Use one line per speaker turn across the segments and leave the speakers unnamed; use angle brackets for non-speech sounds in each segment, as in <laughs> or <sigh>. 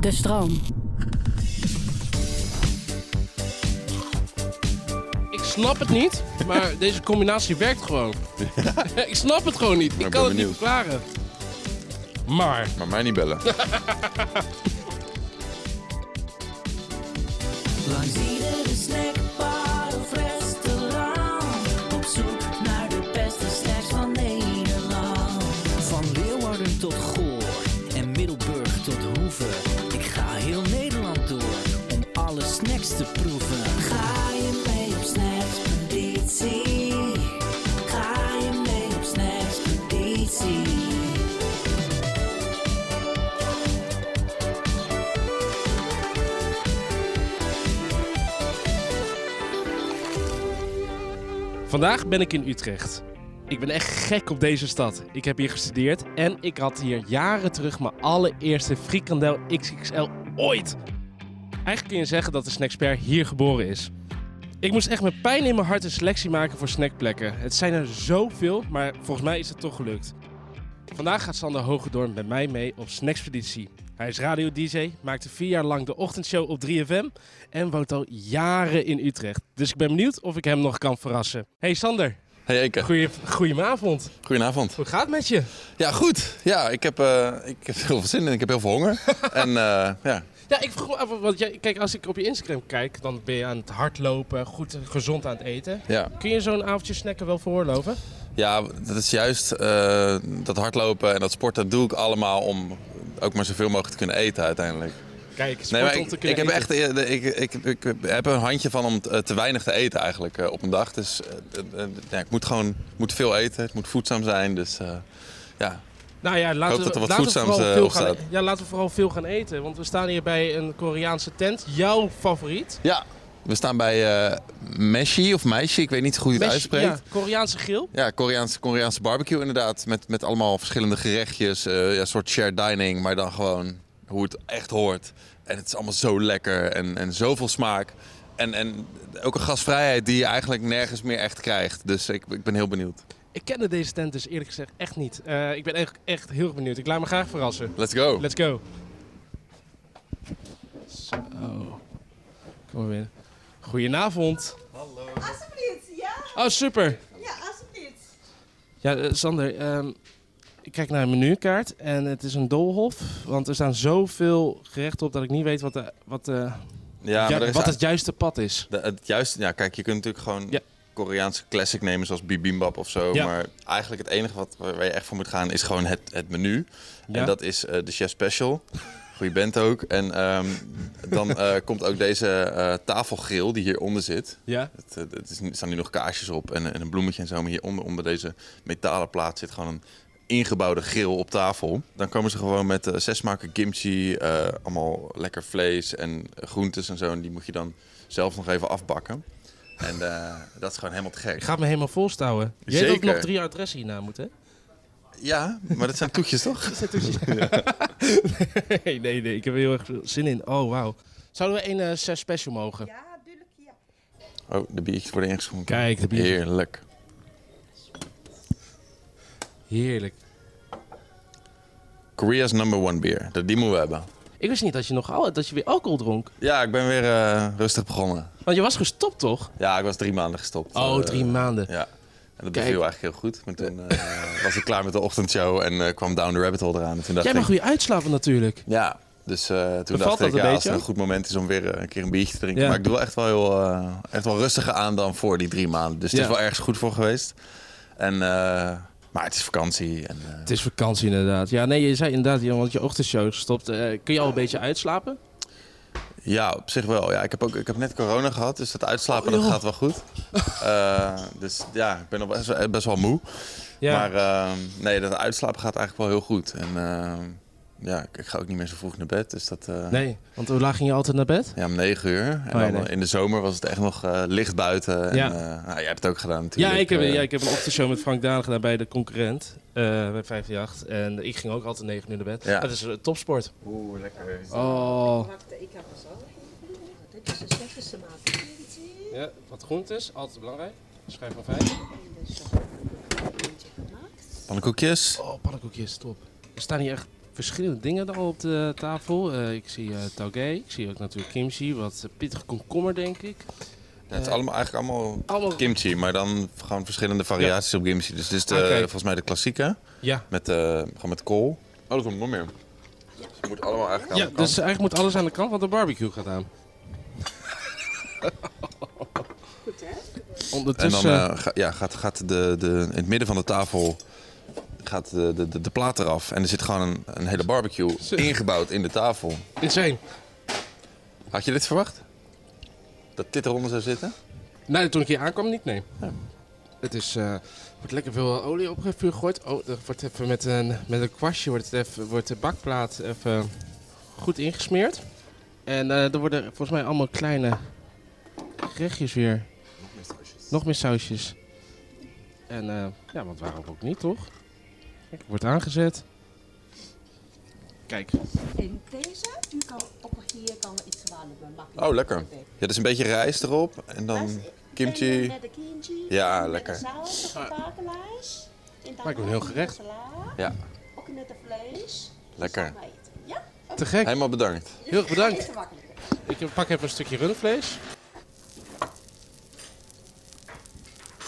De stroom.
Ik snap het niet,
<laughs>
maar deze combinatie werkt gewoon. ik snap het gewoon niet. Ik
ben
kan het niet
benieuwd.
verklaren. Maar.
Maar mij niet bellen. <laughs>
Langs iedere snackbar of restaurant. Op zoek naar de beste snacks van Nederland.
Van Leeuwarden tot Goor en Middelburg tot Hoeve. Ik ga heel Nederland door om alle snacks te proeven.
Ga je mee op snackspeditie? Ga je mee op snackspeditie?
Vandaag ben ik in Utrecht. Ik ben echt gek op deze stad. Ik heb hier gestudeerd en ik had hier jaren terug mijn allereerste frikandel XXL ooit. Eigenlijk kun je zeggen dat de Snacksper hier geboren is. Ik moest echt met pijn in mijn hart een selectie maken voor snackplekken. Het zijn er zoveel, maar volgens mij is het toch gelukt. Vandaag gaat Sander Hogedorn met mij mee op Snackspeditie. Hij is radio-dj, maakte vier jaar lang de ochtendshow op 3FM en woont al jaren in Utrecht. Dus ik ben benieuwd of ik hem nog kan verrassen. Hey Sander,
Hey Eke,
goeie, goedenavond.
goedenavond.
Hoe gaat het met je?
Ja, goed. Ja, ik heb, eh, ik heb er heel veel zin in. Ik heb heel veel
<laughs>
honger. en eh, ja,
Ja, ik vroeg me af, want jij, kijk, als ik op je Instagram kijk, dan ben je aan het hardlopen, goed gezond aan het eten.
ja.
Kun je zo'n avondje snacken wel veroorloven?
ja, dat is juist eh, dat hardlopen en dat sporten doe ik allemaal om ook maar zoveel mogelijk te kunnen eten uiteindelijk.
Kijk, sport
maar
om
ik,
te
ik
kunnen
heb
eten.
echt eh, de- ik, ik, ik, heb een handje van om eh, te te weinig te eten eigenlijk eh, op een dag. Dus eh, eh, eh, ja, ik moet gewoon ik moet veel eten. Het moet voedzaam zijn. Dus eh, ja,
Nou ja, laten
hoop dat er
we,
wat
laten we
voedzaams,
vooral
eh,
veel
op
gaan, e-
staat.
ja, laten we vooral veel gaan eten. Want we staan hier bij een Koreaanse tent. Jouw favoriet?
Ja, we staan bij eh Meshi of Meisje, ik weet niet goed hoe je het
Mesh-
uitspreekt.
ja, Koreaanse grill.
Ja, Koreaanse, Koreaanse barbecue inderdaad, met, met allemaal verschillende gerechtjes. eh ja, een soort shared dining, maar dan gewoon hoe het echt hoort. En het is allemaal zo lekker en, en zoveel smaak. En, en ook een gastvrijheid die je eigenlijk nergens meer echt krijgt. Dus ik, ik ben heel benieuwd.
Ik kende deze tent dus eerlijk gezegd echt niet. Eh, ik ben echt, echt heel erg benieuwd. Ik laat me graag verrassen.
Let's go.
Let's go. Zo. Kom maar binnen. Goedenavond.
Alsjeblieft, ja?
Oh, super.
Ja, alsjeblieft.
Ja, eh, Sander, ehm, ik kijk naar een menukaart en het is een doolhof. Want er staan zoveel gerechten op dat ik niet weet wat, de, wat, de,
Ja,
ju-
maar er is
wat het
eigenlijk-
juiste pad is.
de- het juiste, ja, kijk, je kunt natuurlijk gewoon
Ja.
Koreaanse classic nemen, zoals bibimbap of zo.
Ja.
Maar eigenlijk het enige wat, waar waar je echt voor moet gaan, is gewoon het, het menu.
Ja?
En dat is eh, de Chef Special. Goeie bent ook. En ehm, dan eh, komt ook deze eh tafelgril die hieronder zit.
ja?
Het, eh, het is, er staan nu nog kaarsjes op en, en een bloemetje en zo. Maar hieronder, onder deze metalen plaat, zit gewoon een ingebouwde grill op tafel. Dan komen ze gewoon met eh, zes smaken kimchi, eh, allemaal lekker vlees en groentes en zo. En die moet je dan zelf nog even afbakken. En eh, dat is gewoon helemaal te
Ik
gek.
ga me helemaal volstouwen. Jij hebt ook
Zeker.
nog drie adressen hierna moeten, hè?
Ja, maar dat zijn toetjes toch?
<laughs> nee, nee, nee. Ik heb er heel erg veel zin in. Oh, wauw. Zouden we een eh, zes special mogen?
Ja, duidelijk, ja.
Oh, de biertjes worden ingeschonken.
Kijk, de biertjes.
Heerlijk.
Heerlijk.
Korea's number one beer. Dat die moeten we hebben.
Ik wist niet dat je, nog al, dat je weer alcohol dronk.
Ja, ik ben weer eh, rustig begonnen.
Want je was gestopt, toch?
Ja, ik was drie maanden gestopt.
Oh,
Eh,
drie maanden.
Ja. En dat
Kijk.
beviel eigenlijk heel goed. Maar toen eh, was ik klaar met de ochtendshow en eh, kwam Down the Rabbit Hole eraan. En toen dacht
Jij mag
ik,
weer uitslapen natuurlijk.
ja. Dus eh, toen
Bevalt
dacht
dat
ik,
een
ja, als
beetje
het een
ook?
goed moment is om weer eh, een keer een biertje te drinken.
Ja.
Maar ik doe wel echt wel, heel, eh, echt wel rustiger aan dan voor die drie maanden. Dus
Ja.
het is wel ergens goed voor geweest. En, eh, maar het is vakantie. En, eh,
Het is vakantie inderdaad. Ja, nee, je zei inderdaad, Jan, want je ochtendshow is gestopt. Eh, kun je al een beetje uitslapen?
Ja, op zich wel. Ja, ik, heb ook, ik heb net corona gehad, dus dat uitslapen
Oh,
dat
joh.
gaat wel
<laughs>
goed. Eh, dus ja, ik ben nog best, wel- best wel moe.
Ja.
Maar ehm, nee, dat uitslapen gaat eigenlijk wel heel goed. En ehm, ja, ik, ik ga ook niet meer zo vroeg naar bed. Dus dat, eh,
Nee, want hoe laag ging je altijd naar bed?
Ja, om negen uur. En
Oh, ja,
dan
nee.
in de zomer was het echt nog eh, licht buiten. En,
Ja.
eh, nou, jij hebt het ook gedaan natuurlijk.
Ja ik, heb,
Eh,
ja, ik heb een ochtendshow met Frank Daan gedaan bij de concurrent, eh, bij 158. En ik ging ook altijd 9 uur naar bed.
Ja.
Dat is eh, topsport.
Oeh, lekker.
Oh.
Wacht, ik heb er zo. Dit is een Tsjechische maatpeditie.
Ja, wat groentes, altijd belangrijk. Schrijf van vijf.
Pannenkoekjes.
Oh, pannenkoekjes, top. Er staan hier echt verschillende dingen er al op de tafel. Eh, ik zie eh Taugé, ik zie ook natuurlijk kimchi, wat eh, pittige komkommer denk ik.
Ja, het is allemaal, eigenlijk allemaal
Allemaal...
kimchi, maar dan gewoon verschillende variaties op kimchi. Dus dit is de,
Oké.
volgens mij de klassieke,
Ja,
met, eh, gewoon met kool. Oh, dat komt nog meer. Dus je moet allemaal eigenlijk
ja
aan de kant.
dus eigenlijk moet alles aan de kant, want de barbecue gaat aan.
Goed, hè?
En dan
Ondertussen...
eh, ga- ja, gaat, gaat de, de, in het midden van de tafel gaat de, de, de, de plaat eraf. En er zit gewoon een, een hele barbecue
Zo.
ingebouwd in de tafel.
Insane.
Had je dit verwacht? Dat dit eronder zou zitten?
Nee, toen ik hier aankwam niet, nee. Het is, eh, wordt lekker veel eh, olie op het vuur gegooid. Oh, dat wordt even met een, met een kwastje wordt, het even, wordt de bakplaat even goed ingesmeerd. En eh, er worden volgens mij allemaal kleine gerechtjes weer. Nog meer sausjes. En eh, ja, want waarom ook niet, toch? Kijk, wordt aangezet. Kijk,
En deze, u kan ook hier kan iets warmen. makkelijk.
Oh, lekker. Ja, dat is een beetje rijst erop en dan
En, eh,
kimchi.
Met de kimchi.
Ja,
en
lekker.
Met de saus, de bakelijs. En dan
Maakt een heel
ook
gerecht.
met salade,
Ja,
Ook met de vlees. Dus
Lekker.
Samen eten. Ja,
te gek.
helemaal bedankt.
Heel erg bedankt.
eten makkelijker.
Ik pak even een stukje rundvlees.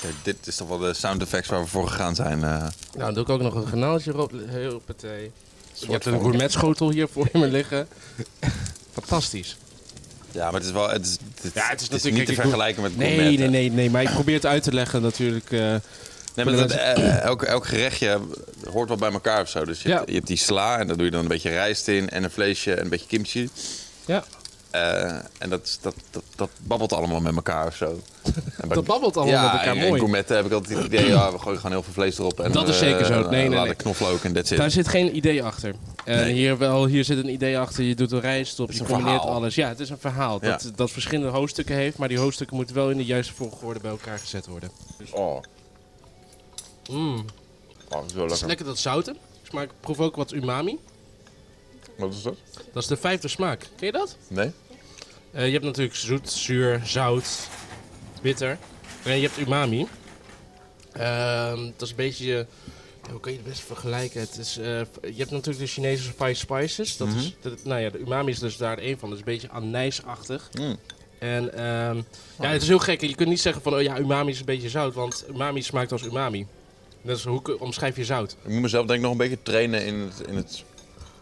Kijk, dit is toch wel de sound effects waar we voor gegaan zijn. eh.
Nou, dan doe ik ook nog een granaaltje erop. Heel partij. Ik heb een
van-
gourmetschotel hier voor me liggen. Fantastisch.
Ja, maar het is wel. Het is, het,
Ja, het is natuurlijk-
niet te
ik doe-
vergelijken met
Nee,
gourmetten.
nee, nee, nee. Maar ik probeer het uit te leggen natuurlijk. eh,
Nee, maar dat, eh, elk, elk gerechtje hoort wel bij elkaar of zo. Dus je,
Ja.
hebt, je hebt die sla en daar doe je dan een beetje rijst in en een vleesje en een beetje kimchi.
ja,
Eh, en dat, is- dat, dat, dat babbelt allemaal met elkaar
<laughs>
of zo. En bij-
dat babbelt allemaal
ja,
met elkaar
en, en
mooi.
gourmetten heb ik altijd het idee, ja, we gooien gewoon heel veel vlees erop. En,
Dat is
eh,
zeker zo. Nee, nee,
laten
nee.
knoflook en that's it.
Daar zit geen idee achter. En
Nee.
hier, wel, hier zit een idee achter. Je doet een rijst op,
is
je
een
combineert
verhaal.
alles. Ja, het is een verhaal
Ja.
dat, dat verschillende hoofdstukken heeft. Maar die hoofdstukken moeten wel in de juiste volgorde bij elkaar gezet worden.
Oh,
Mm.
oh, dat is wel
Het is
lekker.
lekker dat zouten. Ik smaak, proef ook wat umami.
Wat is dat?
Dat is de vijfde smaak. Ken je dat?
Nee?
Eh, je hebt natuurlijk zoet, zuur, zout, bitter. En je hebt umami. Ehm, dat is een beetje. eh, ja, hoe kan je het best vergelijken? Het is, eh, je hebt natuurlijk de Chinese spice spices. Dat is, dat, nou ja, de umami is dus daar een van. Dat is een beetje anijsachtig.
Mm.
En ehm, ja, het is heel gek. Je kunt niet zeggen van oh ja, umami is een beetje zout. Want umami smaakt als umami. Dat is hoe k- omschrijf je zout.
Ik moet mezelf denk ik nog een beetje trainen in het, in het,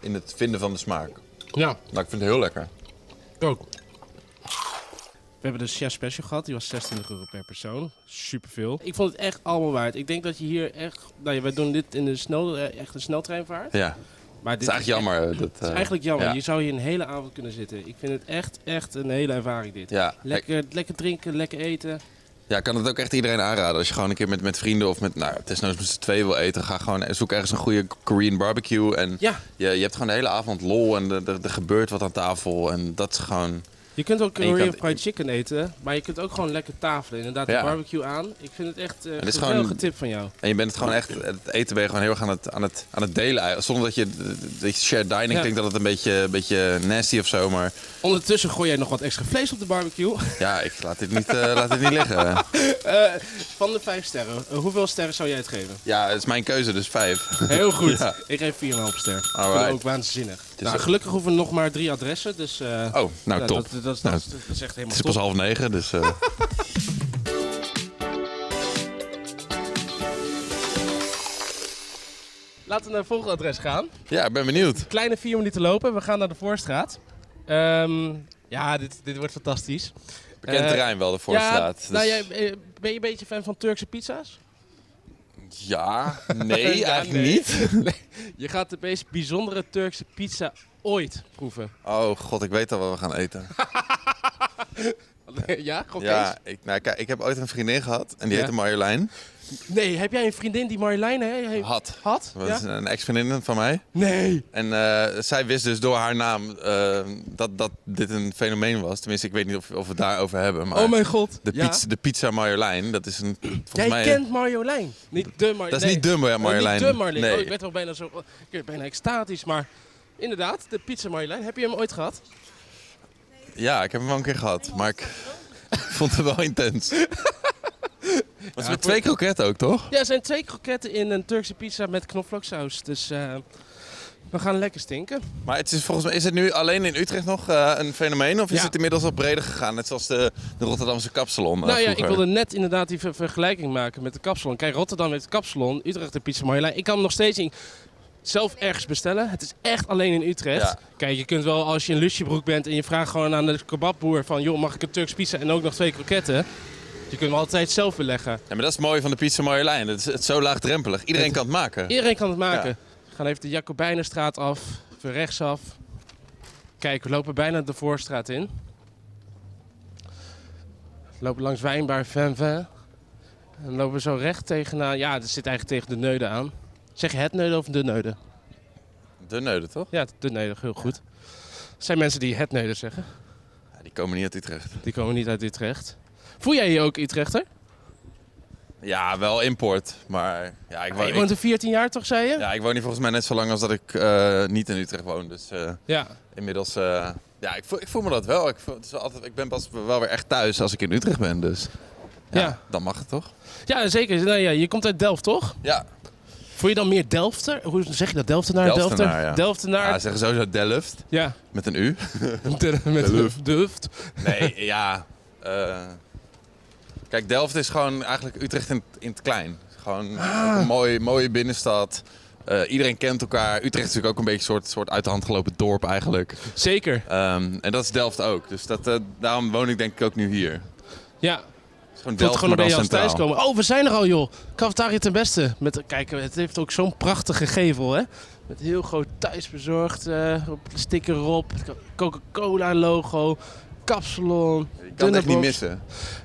in het vinden van de smaak.
Ja,
Maar ik vind het heel lekker.
ook. We hebben de chef special gehad, die was 26 euro per persoon. Superveel. Ik vond het echt allemaal waard. Ik denk dat je hier echt... Nou ja, wij doen dit in de snel, eh, echt een sneltreinvaart.
Ja, het
Maar dit
is eigenlijk jammer. eh, Dat,
Het is eigenlijk jammer.
Ja.
Je zou hier een hele avond kunnen zitten. Ik vind het echt, echt een hele ervaring dit.
Ja, ik-
Lekker, lekker drinken, lekker eten.
Ja, ik kan het ook echt iedereen aanraden. Als je gewoon een keer met, met vrienden of met, nou, desnoods met z'n tweeën wil eten, ga gewoon zoek ergens een goede Korean barbecue. En
Ja.
je, je hebt gewoon de hele avond lol en er- er- er gebeurt wat aan tafel. En dat is gewoon.
Je kunt ook
En je
Korean
kan-
fried chicken eten, maar je kunt ook gewoon lekker tafelen. Inderdaad, de
Ja.
barbecue aan. Ik vind het echt eh, een
Het is
geweldige
gewoon-
tip van jou.
En je bent het gewoon echt, het eten ben je gewoon heel erg aan het, aan het, aan het delen. eigenlijk. Zonder dat je, dat je shared dining
Ja.
klinkt dat het een beetje, een beetje nasty of zo. Maar
Ondertussen gooi jij nog wat extra vlees op de barbecue. <laughs>
ja, ik laat dit niet, eh, laat dit niet liggen.
Eh, van de vijf sterren, eh, hoeveel sterren zou jij het geven?
Ja, het is mijn keuze, dus vijf.
Heel goed.
Ja.
Ik geef 4,5 ster. Ik vind het
Alright.
ook waanzinnig.
is
Nou,
ook-
gelukkig hoeven we nog maar drie adressen, dus... eh,
Oh, nou
ja,
top.
Dat, dat, dat,
Nou,
dat- dat is echt helemaal
het
top.
is pas half negen, dus. eh,
Laten we naar het volgende adres gaan.
ja, ik ben benieuwd.
Kleine vier minuten lopen, we gaan naar de Voorstraat. Ehm, ja, dit, dit wordt fantastisch.
Bekend
Eh,
terrein wel, de
Ja,
Voorstraat.
nou,
dus-
jij, eh, ben je een beetje fan van Turkse pizza's?
<laughs> Ja, nee,
Ja,
eigenlijk
nee.
niet.
Je gaat de meest bijzondere Turkse pizza ooit proeven.
<laughs> Oh god, ik weet al wat we gaan eten.
<laughs> ja? Gewoon
Ja, ik, nou, kijk, ik heb ooit een vriendin gehad en
Ja.
die heette Marjolein.
Kees? Nee, heb jij een vriendin die Marjolein he- heeft?
Had.
Had?
Dat
Ja?
is een ex-vriendin van mij.
Nee.
En eh, zij wist dus door haar naam eh, dat, dat dit een fenomeen was. Tenminste, ik weet niet of, of we het daarover hebben. Maar
Oh mijn god.
de,
Ja?
pizza, de pizza Marjolein, dat is een... Volgens
Jij
mij,
kent Marjolein. Niet de Marjolein.
Dat is niet de Mar- Marjolein.
niet de Marjolein.
Nee.
Oh, ik werd wel bijna zo. Ik werd bijna extatisch, maar inderdaad, de pizza Marjolein. Heb je hem ooit gehad?
Ja, ik heb hem wel een keer gehad, maar ik <laughs> vond het wel
<laughs>
intens. Het is met twee kroketten ook, toch?
Ja, er zijn twee kroketten in een Turkse pizza met knoflooksaus. Dus eh, We gaan lekker stinken.
Maar het is volgens mij, is het nu alleen in Utrecht nog eh, een fenomeen? Of is
Ja.
het inmiddels al breder gegaan? Net zoals de, de Rotterdamse kapsalon. eh,
nou ja, ik
vroeger.
wilde net inderdaad die ver- vergelijking maken met de kapsalon. Kijk, Rotterdam heeft de kapsalon, Utrecht de Pizza Marjolein. Ik kan hem nog steeds in, zelf ergens bestellen. Het is echt alleen in Utrecht.
Ja.
Kijk, je kunt wel als je een lusjebroek bent en je vraagt gewoon aan de kebabboer van... joh, mag ik een Turks pizza en ook nog twee kroketten? Je kunt hem altijd zelf beleggen.
Ja, maar dat is mooi van de Pizza Marjolein. Het is, het is zo laagdrempelig. Iedereen kan het maken.
Iedereen kan het maken.
Ja.
We gaan even de Jacobijnenstraat af, even rechtsaf. Kijk, we lopen bijna de Voorstraat in. We lopen langs Wijnbaar Venve. En lopen zo recht tegenaan. Ja, dat zit eigenlijk tegen de Neude aan. Zeg je het Neude of de Neude?
De neuden, toch?
Ja, de Neude, heel goed. Er zijn mensen die het Neude zeggen.
Ja, die komen niet uit Utrecht.
Die komen niet uit Utrecht. Voel jij je ook Utrechter?
Ja, wel import. Maar ja, ik, woon,
Je woont er 14 jaar toch, zei je?
ik- ja, ik woon hier volgens mij net zo lang als dat ik eh, niet in Utrecht woon. Dus eh,
ja.
inmiddels... eh, ja, ik voel, ik voel me dat wel. Ik, voel, het is wel altijd, ik ben pas wel weer echt thuis als ik in Utrecht ben. Dus ja,
Ja.
dan mag het toch?
Ja, zeker. Nou ja, je komt uit Delft, toch?
Ja,
Voel je dan meer Delfter? Hoe zeg je dat? Delftenaar?
Delftenaar,
Delfter?
ja.
Delftenaar?
ja zeggen sowieso Delft.
Ja,
Met een U.
<laughs> de- met
Delft.
Delft.
Nee, ja. eh, kijk, Delft is gewoon eigenlijk Utrecht in, in het klein. Gewoon ook een mooie, mooie binnenstad. Eh, iedereen kent elkaar. Utrecht is natuurlijk ook een beetje een soort, soort uit de hand gelopen dorp eigenlijk.
Zeker,
Ehm, en dat is Delft ook. Dus dat, eh, daarom woon ik denk ik ook nu hier. Het
ja.
is
Voelt
gewoon Delft,
gewoon een
maar
beetje
dan
als
centraal.
thuiskomen. Oh, we zijn er al, joh. Cafetaria ten beste. Met, kijk, het heeft ook zo'n prachtige gevel, hè. Met heel groot thuisbezorgd, eh, op de sticker erop. het Coca-Cola-logo, kapsalon,
Je kan het echt niet
dunnerbox.
missen.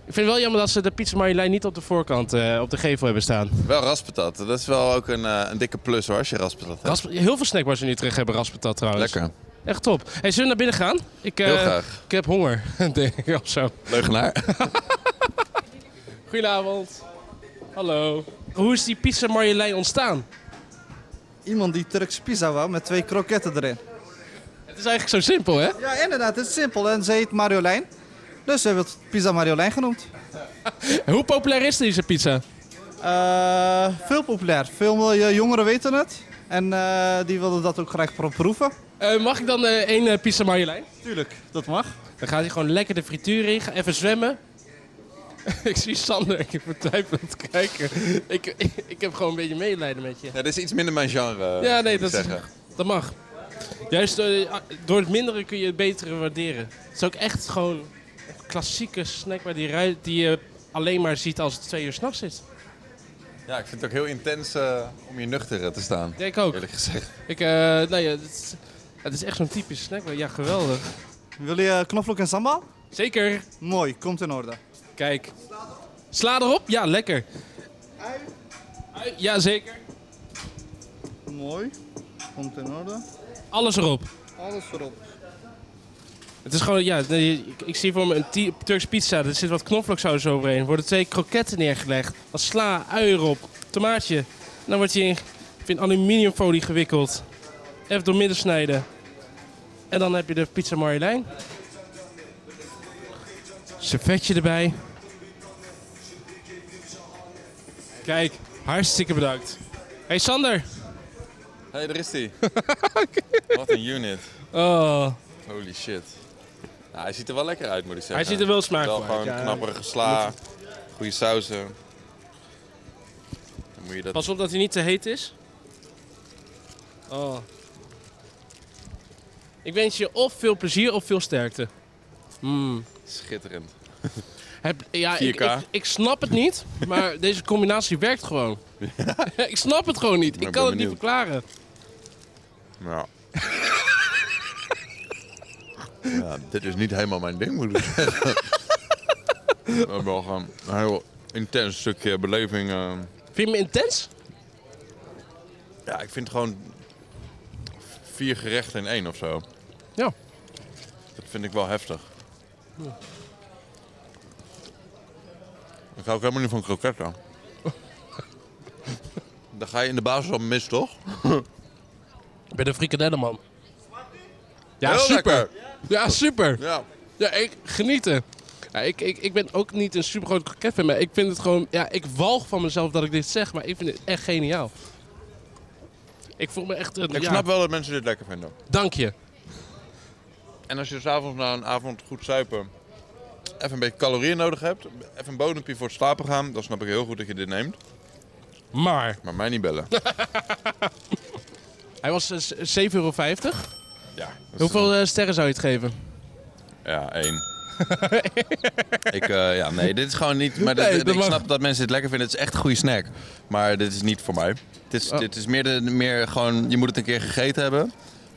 Ik vind het wel jammer dat ze de pizza Marjolein niet op de voorkant eh, op de gevel hebben staan.
Wel raspatat. Dat is wel ook een, eh, een dikke plus hoor, als je raspatat hebt.
Rasp- heel veel snackbars in Utrecht hebben raspatat trouwens.
Lekker.
Echt top. Hey, zullen we naar binnen gaan? Ik, eh,
Heel graag.
Ik heb honger, <laughs> denk ik of zo. <laughs>
Leugenaar.
Goedenavond. Hallo. Hoe is die pizza Marjolein ontstaan?
Iemand die Turks pizza wou met twee kroketten erin.
Het is eigenlijk zo simpel, hè?
Ja, inderdaad, het is simpel. En ze heet Mariolijn. Dus ze hebben het Pizza Mariolijn genoemd.
En hoe populair is deze pizza?
Eh, veel populair. Veel eh, jongeren weten het. En eh, die wilden dat ook graag pro- proeven.
Eh, mag ik dan eh, één eh, pizza Marjolein?
Tuurlijk, dat mag.
Dan gaat hij gewoon lekker de frituur in, ga even zwemmen. <laughs> ik zie Sander, ik vertwijfelend kijken. ik, <laughs> ik, ik heb gewoon een beetje medelijden met je.
Ja, dit is iets minder mijn genre.
Ja, nee,
moet ik
dat, is-
zeggen.
dat mag. Juist eh, door het mindere kun je het betere waarderen. Het is ook echt gewoon een klassieke snack waar die, ruit, die je alleen maar ziet als het twee uur s'nachts is.
Ja, ik vind het ook heel intens eh, om hier nuchter eh, te staan.
Denk ik ook.
Eerlijk gezegd.
Ik, eh, nou ja, het is, het is echt zo'n typische snack. Ja, geweldig.
Wil je eh, knoflook en sambal?
Zeker.
Mooi, komt in orde.
Kijk. Sla erop? Ja, lekker. Ui, Ja, zeker.
Mooi, komt in orde.
Alles erop.
Alles erop.
Het is gewoon, ja, nee, ik, ik zie voor me een ti- Turks pizza. Er zit wat knoflooksaus overheen. Er worden twee kroketten neergelegd. Wat sla, ui erop, tomaatje. En dan wordt hij in, in aluminiumfolie gewikkeld. Even door midden snijden. En dan heb je de pizza Marjolein. Servetje erbij. Kijk, hartstikke bedankt. Hey Sander.
Hé, hey, daar is <laughs> hij. Wat een unit.
Oh,
Holy shit. Nou, hij ziet er wel lekker uit, moet ik zeggen.
hij ziet er wel smaakvol
Wel
uit.
gewoon
ja.
knapperige sla, goede sauzen. Dan moet je dat...
Pas op dat hij niet te heet is. Oh. Ik wens je of veel plezier of veel sterkte. Mm.
Schitterend.
Heb, ja, ik,
4K.
ik, ik snap het niet,
<laughs>
maar deze combinatie werkt gewoon. <laughs> ik snap het gewoon niet. Ik
ben
kan het niet
benieuwd.
verklaren.
Ja. <laughs> ja, dit is niet helemaal mijn ding, moet ik zeggen. We hebben wel gewoon een heel intens stukje beleving. eh.
Vind je me intens?
Ja, ik vind gewoon vier gerechten in één of zo.
Ja.
Dat vind ik wel heftig. Ik hou ook helemaal niet van kroketten. <laughs> Dan ga je in de basis al mis, toch?
Ik ben een frikadellenman. Ja,
Heel
super.
lekker.
Ja, super.
Ja.
Ja, ik genieten. Ja, ik, ik, ik ben ook niet een super groot kroketfan, maar ik vind het gewoon... Ja, ik walg van mezelf dat ik dit zeg, maar ik vind het echt geniaal. Ik voel me echt... een
Ik
ja,
snap wel dat mensen dit lekker vinden.
Dank je.
En als je s'avonds na een avond goed zuipen even een beetje calorieën nodig hebt, even een bodempje voor het slapen gaan, dan snap ik heel goed dat je dit neemt.
Maar
Maar mij niet
<laughs>
bellen.
hij was eh, s- 7,50 euro.
Ja, dat is-
Hoeveel eh, sterren zou je het geven?
Ja,
<laughs>
één. ik, eh, ja, nee, dit is gewoon niet... Maar dit-
Nee,
dit-
dat
ik
mag.
snap dat mensen dit lekker vinden. Het is echt een goede snack. Maar dit is niet voor mij. Het is,
Oh.
dit is meer, de, meer gewoon... Je moet het een keer gegeten hebben.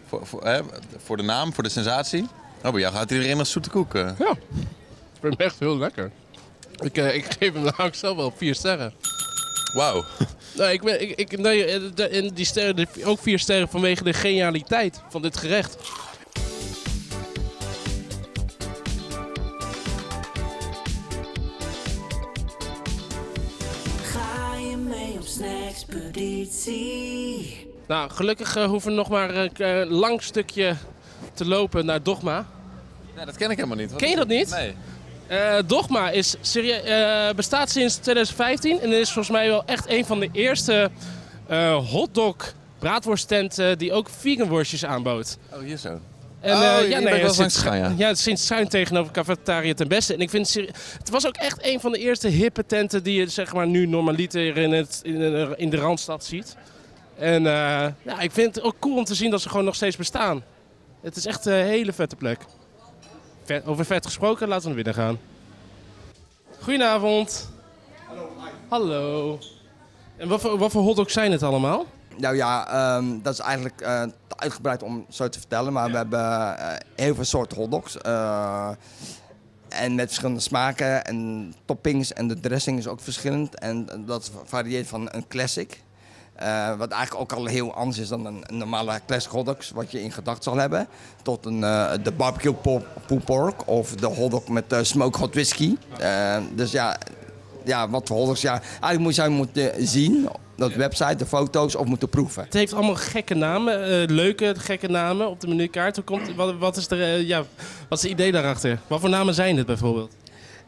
Voor, voor, hè, voor de naam, voor de sensatie. Oh, bij jou gaat iedereen als zoete koek. eh.
Ja. Ik vind hem echt heel lekker. Ik, eh, ik geef hem <laughs> namelijk zelf wel vier sterren.
Wauw.
Nee, ik, ben- ik, ik, nee eh, de- en die sterren, de- ook vier sterren vanwege de genialiteit van dit gerecht.
Ga je mee op snackspeditie?
Nou, gelukkig eh, hoeven we nog maar een eh, lang stukje te lopen naar Dogma.
Ja, dat ken ik helemaal niet. Wat
Ken je
is
dat
dit?
niet?
Nee.
Eh, Dogma is serie- eh, bestaat sinds 2015 en is volgens mij wel echt een van de eerste eh hotdog braadworsttenten die ook vegan worstjes aanbood.
Oh, hier zo.
En,
Oh,
eh,
je bent wel eens
sinds-
langs gegaan, ja.
Ja, sinds schuin tegenover Cafetaria ten beste. En ik vind, het serie- het was ook echt een van de eerste hippe tenten die je zeg maar, nu normaliter in, het, in, de- in de Randstad ziet. En eh, ja, ik vind het ook cool om te zien dat ze gewoon nog steeds bestaan. Het is echt een hele vette plek. Vet- over vet gesproken, laten we naar binnen gaan. Goedenavond. Hallo. Hallo. En wat voor, wat voor hotdogs zijn het allemaal?
Nou ja, ehm, dat is eigenlijk eh, te uitgebreid om zo te vertellen. Maar we hebben eh, heel veel soorten hotdogs. eh, en met verschillende smaken en toppings. En de dressing is ook verschillend. En dat varieert van een classic. eh, wat eigenlijk ook al heel anders is dan een, een normale classic hotdogs, wat je in gedachten zal hebben. Tot een, eh, de barbecue po- pulled pork of de hotdog met eh smoke hot whisky. Eh, dus ja, ja, wat voor hotdogs. Ja, eigenlijk moet je moeten eh, zien, dat website, de foto's of moeten proeven.
Het heeft allemaal gekke namen, eh, leuke gekke namen op de menukaart. Hoe komt, wat, wat, is er, eh, ja, wat is het idee daarachter? Wat voor namen zijn dit bijvoorbeeld?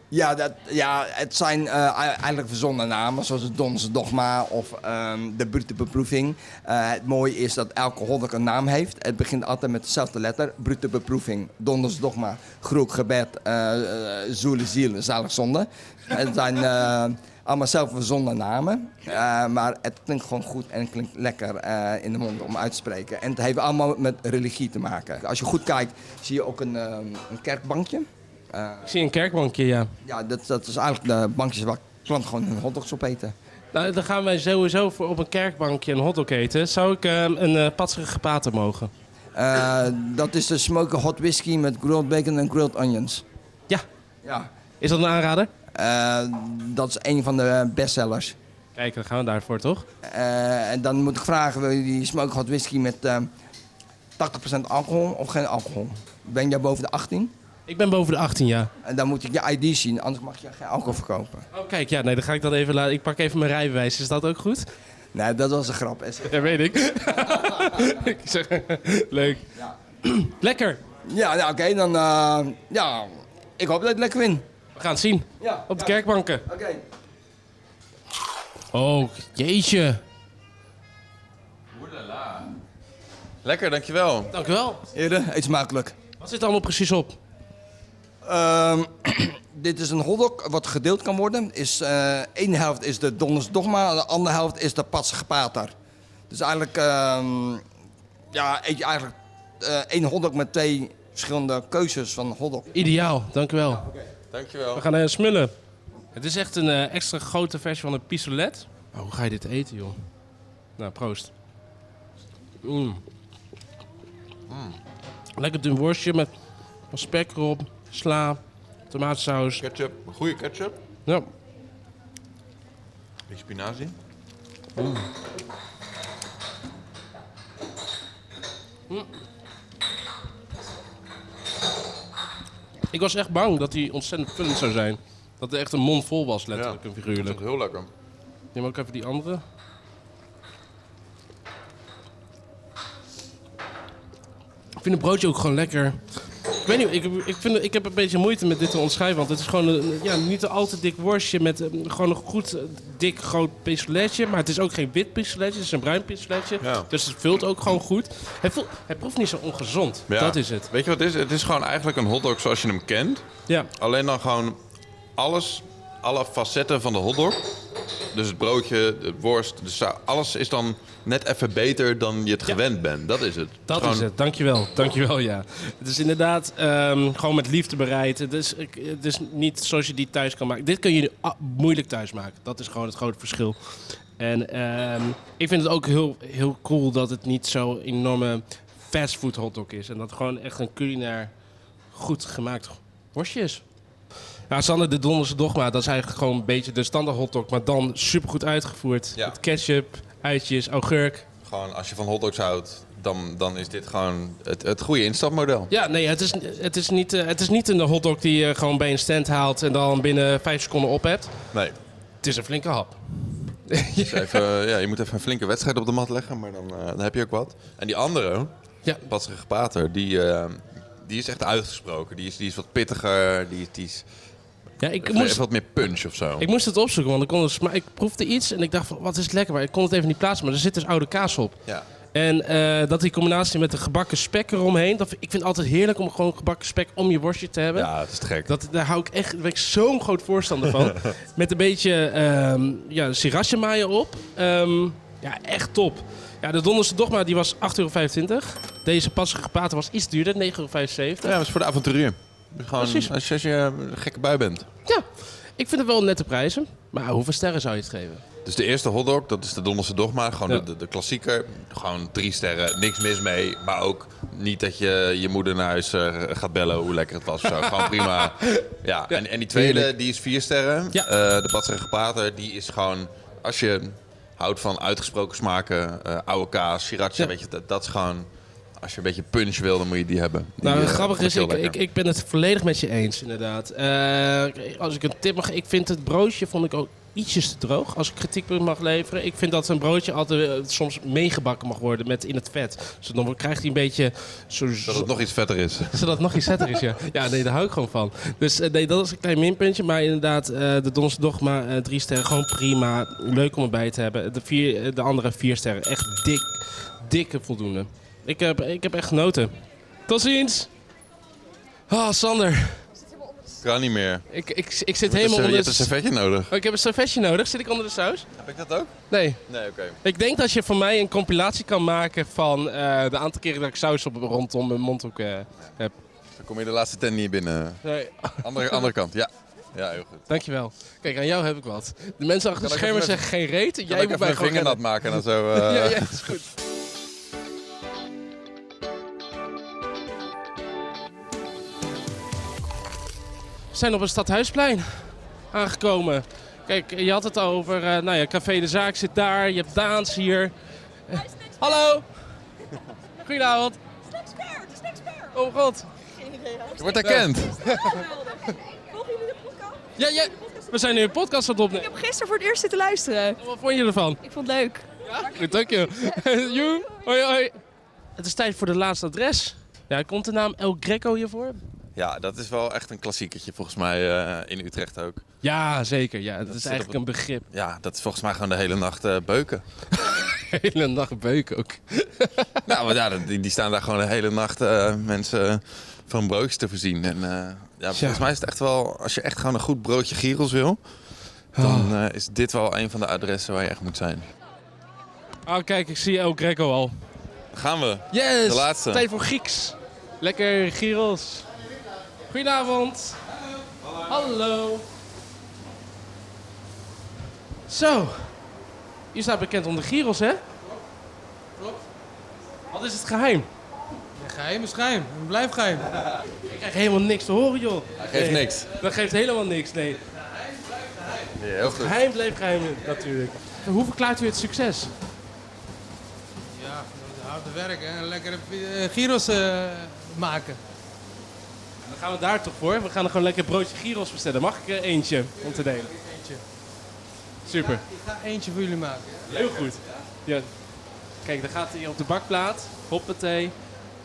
Ja, dat, ja het zijn eh, ei- eigenlijk verzonnen namen, zoals het Donse Dogma of ehm, de Brute Beproeving. Eh, het mooie is dat elke hotdog een naam heeft. Het begint altijd met dezelfde letter, Brute Beproeving, Donders Dogma, Groek Gebed, eh eh, Zoele Ziel, Zalig Zonde. Het zijn eh, allemaal zelf verzonnen namen, Eh, maar het klinkt gewoon goed en het klinkt lekker eh, in de mond om uit te spreken. En het heeft allemaal met religie te maken. Als je goed kijkt, zie je ook een, ehm, een kerkbankje. Eh,
Ik zie een kerkbankje, ja.
ja, dat, dat is eigenlijk de bankjes waar klanten gewoon hun hotdogs op eten.
Nou, dan gaan wij sowieso voor op een kerkbankje een hotdog eten. Zou ik eh, een eh patserige pater mogen?
Eh, dat is de smoken hot whisky met grilled bacon en grilled onions.
Ja.
Ja.
Is dat een aanrader?
Eh, dat is een van de bestsellers.
Kijk, dan gaan we daarvoor, toch?
Eh, en dan moet ik vragen, wil je die smoken hot whisky met eh, 80% alcohol of geen alcohol? Ben jij boven de 18?
Ik ben boven de 18 jaar.
En dan moet ik je ID zien, anders mag je geen alcohol verkopen.
Oh, kijk, ja, nee, dan ga ik dat even laten. Ik pak even mijn rijbewijs. Is dat ook goed?
Nee, dat was een grap.
Ja, weet ik. <laughs> ik zeg, leuk. <clears throat> Lekker.
Ja, nou, oké, dan... eh, ja, ik hoop dat ik het lekker vind.
We gaan het zien.
Ja,
Op de
ja,
kerkbanken.
Oké.
Oh, jeetje.
Lekker, dankjewel.
Dank u wel.
Heren, eet smakelijk.
Wat zit er allemaal precies op?
Ehm, <clears throat> dit is een hotdog wat gedeeld kan worden. Is, eh één helft is de Donders Dogma, de andere helft is de Patsige Pater. Dus eigenlijk, ehm, ja, eet je eigenlijk eh, één hotdog met twee verschillende keuzes van hotdog.
Ideaal, dank u wel.
Dankjewel.
We gaan eh, smullen. Het is echt een eh, extra grote versie van een pistolet. Maar Oh, hoe ga je dit eten, joh? Nou, proost. Mm. Lekker dun worstje met wat spek erop, sla, tomaatsaus.
Ketchup. Goede ketchup.
Ja,
Beetje spinazie.
ik was echt bang dat hij ontzettend vullend zou zijn. Dat er echt een mond vol was, letterlijk en figuurlijk.
Heel lekker.
Neem ook even die andere. Ik vind het broodje ook gewoon lekker. Ik weet niet, ik, ik, vind, het- ik heb een beetje moeite met dit te omschrijven. Want het is gewoon een, ja, niet een al te dik worstje met eh, gewoon een goed eh, dik groot pistoletje. Maar het is ook geen wit pistoletje, het is een bruin pistoletje.
Ja.
Dus het vult ook gewoon goed. Hij, voelt, hij proeft niet zo ongezond,
Ja.
dat is het.
Weet je wat het is? Het is gewoon eigenlijk een hotdog zoals je hem kent.
Ja.
Alleen dan gewoon alles, alle facetten van de hotdog. Dus het broodje, de worst, de sa- alles is dan net even beter dan je het gewend bent. Dat is het.
Dat
Gewoon-
is het, dankjewel. Dankjewel, ja. Het is inderdaad ehm, gewoon met liefde bereid. Het is, ik- het is niet zoals je die thuis kan maken. Dit kun je ah, moeilijk thuis maken. Dat is gewoon het grote verschil. En ehm, ik vind het ook heel, heel cool dat het niet zo'n enorme fastfood hotdog is. En dat het gewoon echt een culinair goed gemaakt worstje is. Ja, Sander, de Donderse Dogma, dat is eigenlijk gewoon een beetje de standaard hotdog. Maar dan supergoed uitgevoerd.
Ja.
Met ketchup, eitjes, augurk.
Gewoon als je van hotdogs houdt, dan, dan is dit gewoon het, het goede instapmodel.
Ja, nee, het is, het is, niet, eh, het is niet een hotdog die je gewoon bij een stand haalt en dan binnen vijf seconden op hebt.
Nee.
Het is een flinke hap. <laughs>
Dus even, ja, je moet even een flinke wedstrijd op de mat leggen, maar dan, eh, dan heb je ook wat. En die andere,
Ja.
Patrige Pater, die, eh, die is echt uitgesproken. Die is, die is wat pittiger, die, die is
Ja, ik
heeft
moest,
wat meer punch of zo.
ik moest het opzoeken, want ik, kon het, maar ik proefde iets en ik dacht van, wat is het lekker, maar ik kon het even niet plaatsen. Maar er zit dus oude kaas op.
Ja.
En eh, dat die combinatie met de gebakken spek eromheen, dat, vind- ik vind het altijd heerlijk om gewoon gebakken spek om je worstje te hebben.
ja, het is te gek.
Dat, daar hou ik echt, daar ben ik zo'n groot voorstander van. Met een beetje ehm ja, sriracha mayo op. Ehm, ja, echt top. Ja, de Donderse Dogma die was 8,25 euro. Deze passige paten was iets duurder, 9,75
Ja, dat is voor de avonturier. Gewoon
Precies.
Als, je, als je een gekke bui bent.
Ja, ik vind het wel nette prijzen. Maar hoeveel sterren zou je het geven?
Dus de eerste hotdog, dat is de Donderse dogma. Gewoon
Ja.
de, de, de klassieker. Gewoon drie sterren, niks mis mee. Maar ook niet dat je je moeder naar huis eh, gaat bellen hoe lekker het was. of Zo.
<laughs>
gewoon prima. Ja, En, en die tweede,
Heerlijk.
die is vier sterren.
Ja.
Eh, de Batserige Pater, die is gewoon... Als je houdt van uitgesproken smaken, eh, oude kaas, sriracha,
Ja.
weet je, dat, dat is gewoon... Als je een beetje punch wil, dan moet je die hebben. Die,
Nou,
eh,
het grappige
vond
is,
heel
ik, ik,
lekker.
ik ben het volledig met je eens, inderdaad. Eh, als ik een tip mag, ik vind het broodje vond ik ook ietsjes te droog. Als ik kritiek mag leveren, ik vind dat een broodje altijd eh, soms meegebakken mag worden met in het vet. Dus dan krijgt hij een beetje zo,
Dat het nog iets vetter is.
zodat het nog iets zetter is, ja. Ja, nee, daar hou ik gewoon van. Dus eh, nee, dat is een klein minpuntje. Maar inderdaad, eh, de Donse Dogma, eh, drie sterren, gewoon prima. Leuk om erbij te hebben. De, vier, eh, de andere vier sterren, echt dik, dikke voldoende. Ik heb, ik heb echt genoten. Tot ziens! Ah, Sander.
Kan niet meer.
Ik, ik, ik zit
Dus, eh,
helemaal
je
onder...
hebt een servetje nodig.
Oh, ik heb een servetje nodig. Zit ik onder de saus?
Heb ik dat ook?
Nee.
Nee, oké.
Ik denk dat je voor mij een compilatie kan maken van eh, de aantal keren dat ik saus op, rondom mijn mondhoek eh, heb.
Dan kom je de laatste tent niet binnen.
Nee.
Andere, andere kant, ja. Ja, heel goed.
Dankjewel. Kijk, aan jou heb ik wat. De mensen achter de
Kan ik
schermen
even-
zeggen geen reet.
Kan
Jij
ik
moet
even
mij
mijn
gewoon
vinger nat
redden.
maken en zo. eh,
Ja, ja, is goed. We zijn op het Stadhuisplein aangekomen. Kijk, je had het al over, eh, nou ja, Café de Zaak zit daar, je hebt Daans hier. Eh, hallo! Goedenavond. Oh god.
Je wordt herkend.
Volgen jullie de podcast?
Ja, ja, we zijn nu een podcast aan het
Ik
opnemen.
heb gisteren voor het eerst zitten luisteren.
Wat vond je ervan?
Ik vond het leuk.
Goed, dank je. <laughs> Joe, hoi hoi. Het is tijd voor de laatste adres. Ja, komt de naam El Greco hiervoor?
Ja, dat is wel echt een klassiekertje volgens mij eh, in Utrecht ook.
Ja, zeker. Ja, dat, is
zit
eigenlijk een begrip.
Ja, dat is volgens mij gewoon de hele nacht eh, beuken.
<laughs> Hele nacht beuken ook.
nou, maar ja, dat- die, die staan daar gewoon de hele nacht eh, mensen van broodjes te voorzien. En eh, ja, volgens mij is het echt wel, als je echt gewoon een goed broodje Giros wil, dan eh, is dit wel een van de adressen waar je echt moet zijn.
Oh, kijk, ik zie El Greco al.
Gaan we.
Yes!
De laatste.
Tijd voor Grieks. Lekker Giros. Goedenavond. Hallo. Zo. U staat bekend om de Giros, hè? Klopt. Wat is het geheim?
Geheim is geheim. Het blijft geheim.
Ik krijg helemaal niks te horen, joh.
Geeft niks.
Dat geeft helemaal niks, nee.
Ja, heel goed.
Geheim blijft geheim, natuurlijk. Hoe verklaart u het succes?
Ja, hard werken en lekkere eh, gyros eh, maken.
Dan gaan we daar toch voor. We gaan er gewoon lekker broodje gyros bestellen. Mag ik er eentje om te delen?
Eentje.
Super.
Ik ga eentje voor jullie maken.
Heel goed. Ja. Kijk, dan gaat hij op de bakplaat. Hoppatee.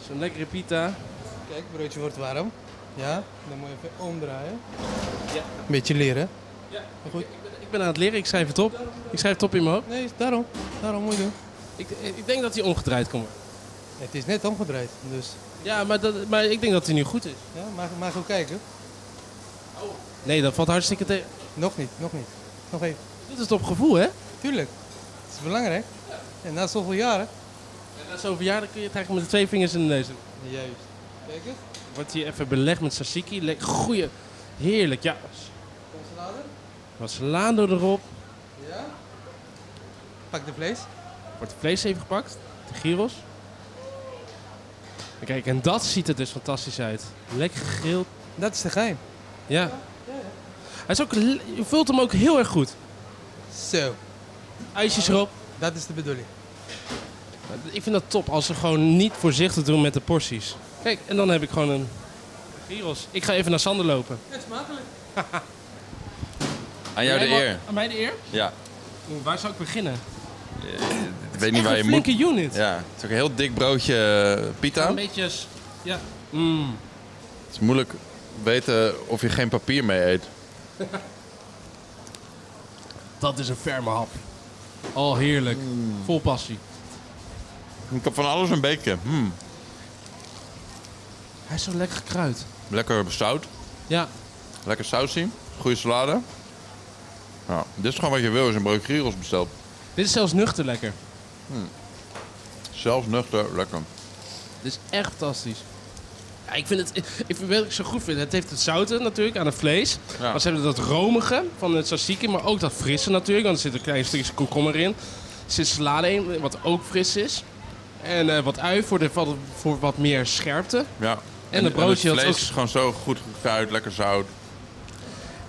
Zo'n lekkere pita.
Kijk, het broodje wordt warm. Ja, dan moet je even omdraaien. Een beetje leren. Ja. Goed.
Ik ben aan het leren, ik schrijf het op. Ik schrijf het op in mijn hoofd.
Nee, daarom. Daarom moet je doen.
Ik, ik denk dat hij omgedraaid kan worden.
Het is net omgedraaid, dus
Ja, maar, dat, maar ik denk dat hij nu goed is.
ja, maar, maar goed kijken.
Nee, dat valt hartstikke tegen.
Nog niet, nog niet. Nog even.
Dit is het op gevoel, hè?
Tuurlijk. Het is belangrijk. En na zoveel jaren.
En na zo'n verjaardag kun je het eigenlijk met de twee vingers in de neus doen.
Juist. Kijk eens.
Wordt hier even belegd met tzatziki. Le- Goeie, heerlijk, ja.
Salade.
Wat salado erop.
Ja. Pak de vlees.
Wordt het vlees even gepakt. De gyros. En Kijk, en dat ziet er dus fantastisch uit. Lekker gegrild.
Dat is de geheim.
Ja. Hij is ook, le- je vult hem ook heel erg goed.
Zo.
IJsjes erop.
Dat is de bedoeling.
Ik vind dat top als ze gewoon niet voorzichtig doen met de porties. Kijk, en dan heb ik gewoon een gyros. Ik ga even naar Sander lopen.
Het is makkelijk.
Aan jou de
Jij mag-
eer.
Aan mij de eer?
Ja.
Oeh, waar zou ik beginnen?
Ik weet niet
Echt
waar je
een
moet.
flinke unit.
Ja, het is ook een heel dik broodje eh, pita.
Een beetje... s- Ja. Mm.
Het is moeilijk weten of je geen papier mee eet.
Dat is een ferme hap. Al heerlijk.
Mm.
Vol passie.
Ik heb van alles een beetje. Hmm.
Hij is zo lekker gekruid.
Lekker zout,
Ja.
lekker sausie, goede salade. Ja, dit is gewoon wat je wil als je een broodje gyros bestelt.
Dit is zelfs nuchter lekker.
Zelfs nuchter, lekker.
Dit is echt fantastisch. Ja, ik vind het... Ik vind wat ik zo goed vind. Het heeft het zouten natuurlijk aan het vlees.
Ja.
Maar ze hebben dat romige van het tzatziki. Maar ook dat frisse natuurlijk. Want er zit een klein stukje komkommer in. Er zit salade in, wat ook fris is. En eh, wat ui voor, de, voor wat meer scherpte.
Ja. En,
dat broodje, dat
het
is
vlees
ook-
is gewoon zo goed gekruid, lekker zout.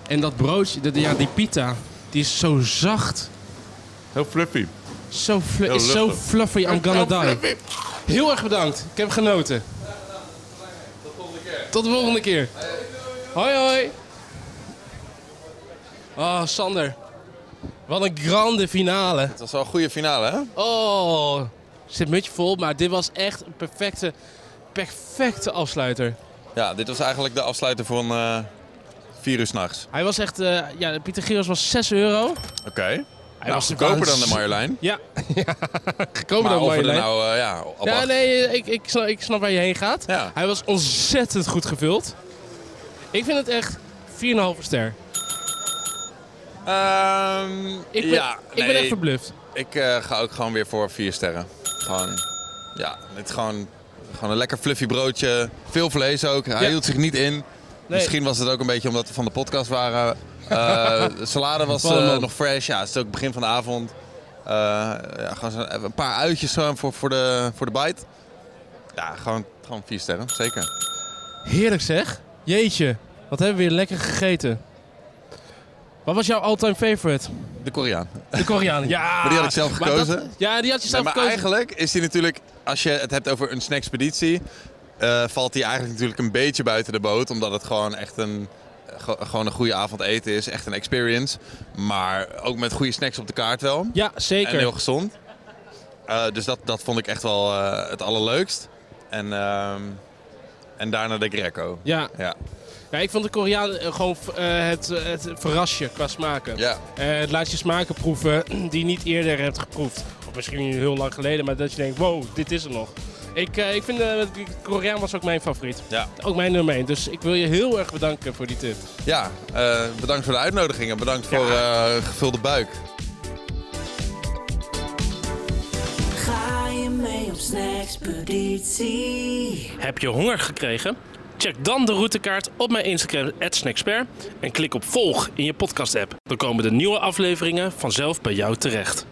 En dat broodje, dat- ja, die pita, die is zo zacht.
Heel fluffy.
Zo, fl-
Heel
is zo
luchtig.
fluffy, I'm gonna die.
Fluffy.
Heel erg bedankt. Ik heb genoten. Tot de volgende keer. Hoi hoi. Oh, Sander. Wat een grande finale.
Het was wel een goede finale, hè?
Oh, zit mutje vol, maar dit was echt een perfecte, perfecte afsluiter.
Ja, dit was eigenlijk de afsluiter van eh vier uur s'nachts.
Hij was echt, eh, ja, Pieter Geros was 6 euro.
Oké.
Hij
Nou,
was
goedkoper dan de
waanz-
Marjolein.
Ja, ja, <laughs> gekomen
Maar
dan
of we er
Marjolein.
nou, eh, ja, op
Ja,
acht-
nee, ik, ik, snap, ik snap waar je heen gaat.
Ja.
Hij was ontzettend goed gevuld. Ik vind het echt 4,5 ster.
Ehm,
Ik ben,
ja,
ik ben
nee,
echt verbluft.
Ik eh, ga ook gewoon weer voor vier sterren. Gewoon, ja, het gewoon, gewoon een lekker fluffy broodje. Veel vlees ook. Hij
Ja.
hield zich niet in.
Nee.
Misschien was het ook een beetje omdat we van de podcast waren.
<laughs>
Eh, de salade was eh,
Allemaal.
nog fresh. Ja, het is ook het begin van de avond. Eh, ja, gewoon zo- even een paar uitjes gewoon voor, voor, de, voor de bite. Ja, gewoon, gewoon vier sterren, zeker.
Heerlijk zeg. Jeetje, wat hebben we weer lekker gegeten. Wat was jouw all-time favorite?
De Koreaan.
De
<laughs>
Koreaan. Ja,
Maar die had ik zelf
Maar dat-
gekozen.
ja, die had je
Nee,
zelf
maar
gekozen.
eigenlijk is hij natuurlijk, als je het hebt over een snackspeditie, eh, valt hij eigenlijk natuurlijk een beetje buiten de boot. Omdat het gewoon echt een, eh, ge- gewoon een goede avond eten is. Echt een experience. Maar ook met goede snacks op de kaart wel.
Ja,
en
zeker.
heel gezond. Eh, dus dat, dat vond ik echt wel eh, het allerleukst. En, ehm, en daarna de Greco.
Ja.
Ja.
ja, ik vond de Koreaan eh, gewoon eh, het, het verrasje qua smaken.
ja.
Eh, het laat je smaken proeven <clears throat> die je niet eerder hebt geproefd. Of misschien heel lang geleden, maar dat je denkt, wow, dit is er nog. Ik, eh, ik vind, eh, de Koreaan was ook mijn favoriet.
Ja,
Ook mijn nummer 1. Dus ik wil je heel erg bedanken voor die tip.
ja. eh, bedankt voor de uitnodiging en bedankt voor eh, gevulde buik.
Ga je mee op snackspeditie?
Heb je honger gekregen? Check dan de routekaart op mijn Instagram, @snacksper en klik op volg in je podcast-app. Dan komen de nieuwe afleveringen vanzelf bij jou terecht.